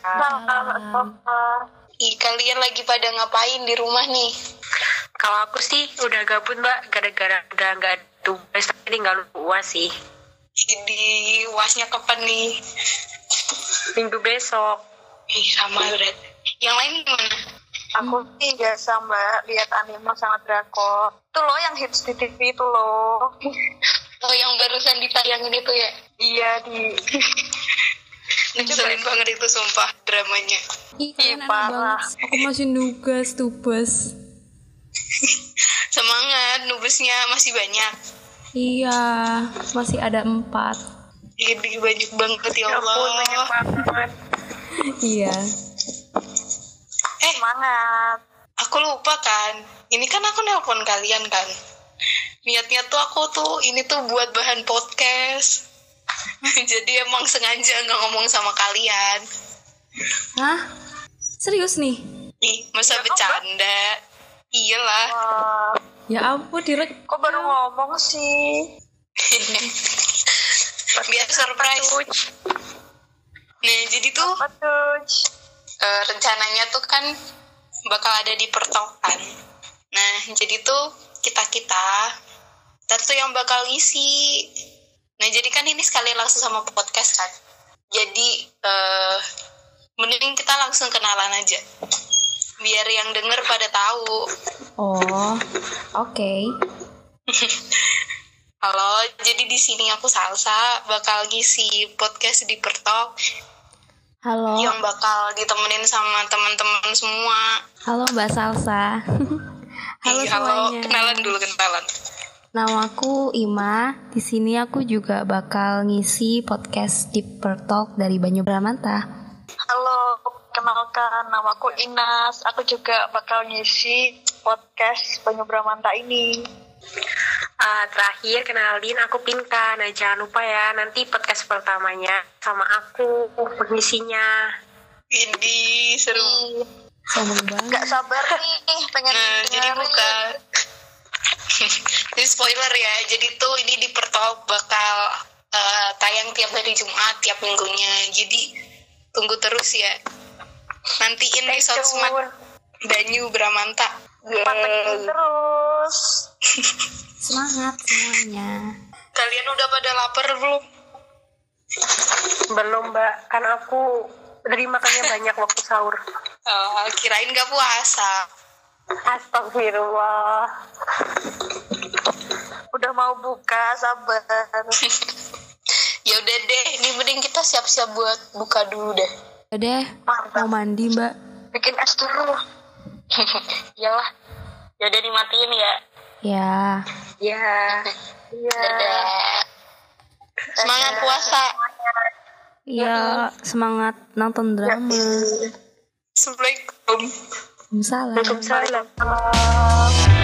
Waalaikumsalam. Ih, kalian lagi pada ngapain di rumah nih? Kalau aku sih udah gabut mbak, gara-gara udah nggak ada tugas jadi nggak lupa sih. Jadi uasnya kapan nih? Minggu besok. Ih, sama berarti. Yang lain gimana? Aku Hmm. sih biasa mbak lihat anime sama drakor. Itu loh yang hits di TV itu loh. Oh, yang barusan ditayangin itu ya? Iya di Ngeselin banget itu sumpah dramanya. Ih, Ih, kalian aneh parah. banget. Iya, Aku masih nugas tugas. Semangat, nubesnya masih banyak. Iya, masih ada empat. Jadi Iya, banyak banget ya Allah. Iya. Eh, semangat. aku lupa kan. Ini kan aku nelpon kalian kan. Niatnya tuh aku tuh ini tuh buat bahan podcast. Jadi emang sengaja nggak ngomong sama kalian. Hah? Serius nih? Ih, masa bercanda? Iyalah. Wah, Ya ampun, direk. Eh, kok baru ngomong sih? Biar surprise. Nah, jadi tuh Betul. eh, rencananya tuh kan bakal ada di pertokan. Nah, jadi tuh kita-kita ntar tuh yang bakal ngisi. Nah, jadi kan ini sekali langsung sama podcast kan. Jadi eh mending kita langsung kenalan aja. Biar yang denger pada tahu. Oh, oke. Halo, jadi di sini aku Salsa bakal ngisi podcast di Pertok Halo. yang bakal ditemenin sama teman-teman semua. Halo Mbak Salsa. Iya, Ih, Halo semuanya. kenalan dulu kenalan. Namaku Ima. Di sini aku juga bakal ngisi podcast Deep Pearl Talk dari Banyu Bramanta. Halo, kenalkan namaku Inas. Aku juga bakal ngisi podcast Penyubramanta ini. Ah, terakhir kenalin aku Pinka. Nah jangan lupa ya nanti podcast pertamanya sama aku pengisinya. Ini seru. Sombong banget. Gak sabar nih, Iya, pengen Nah, jadi dengerin. buka. Ini spoiler ya. Jadi tuh ini di Pertok bakal eh, tayang tiap hari Jumat tiap minggunya. Jadi tunggu terus ya. Nantiin di sosmed Banyu Bramanta. Pantengin terus. Semangat semuanya. Kalian udah pada lapar belum? Belum mbak, kan aku dari makannya banyak waktu sahur. Eh, kirain gak puasa. Astagfirullah. Udah mau buka, sabar. Ya udah deh, ini mending kita siap-siap buat buka dulu deh. Udah deh, mau mandi Mbak. Bikin es dulu. Iyalah. Ya udah dimatiin ya. Ya. Ya. Dadah. Semangat puasa. Ya, semangat nonton drama. Assalamualaikum. Salam. Waalaikumsalam. Salam.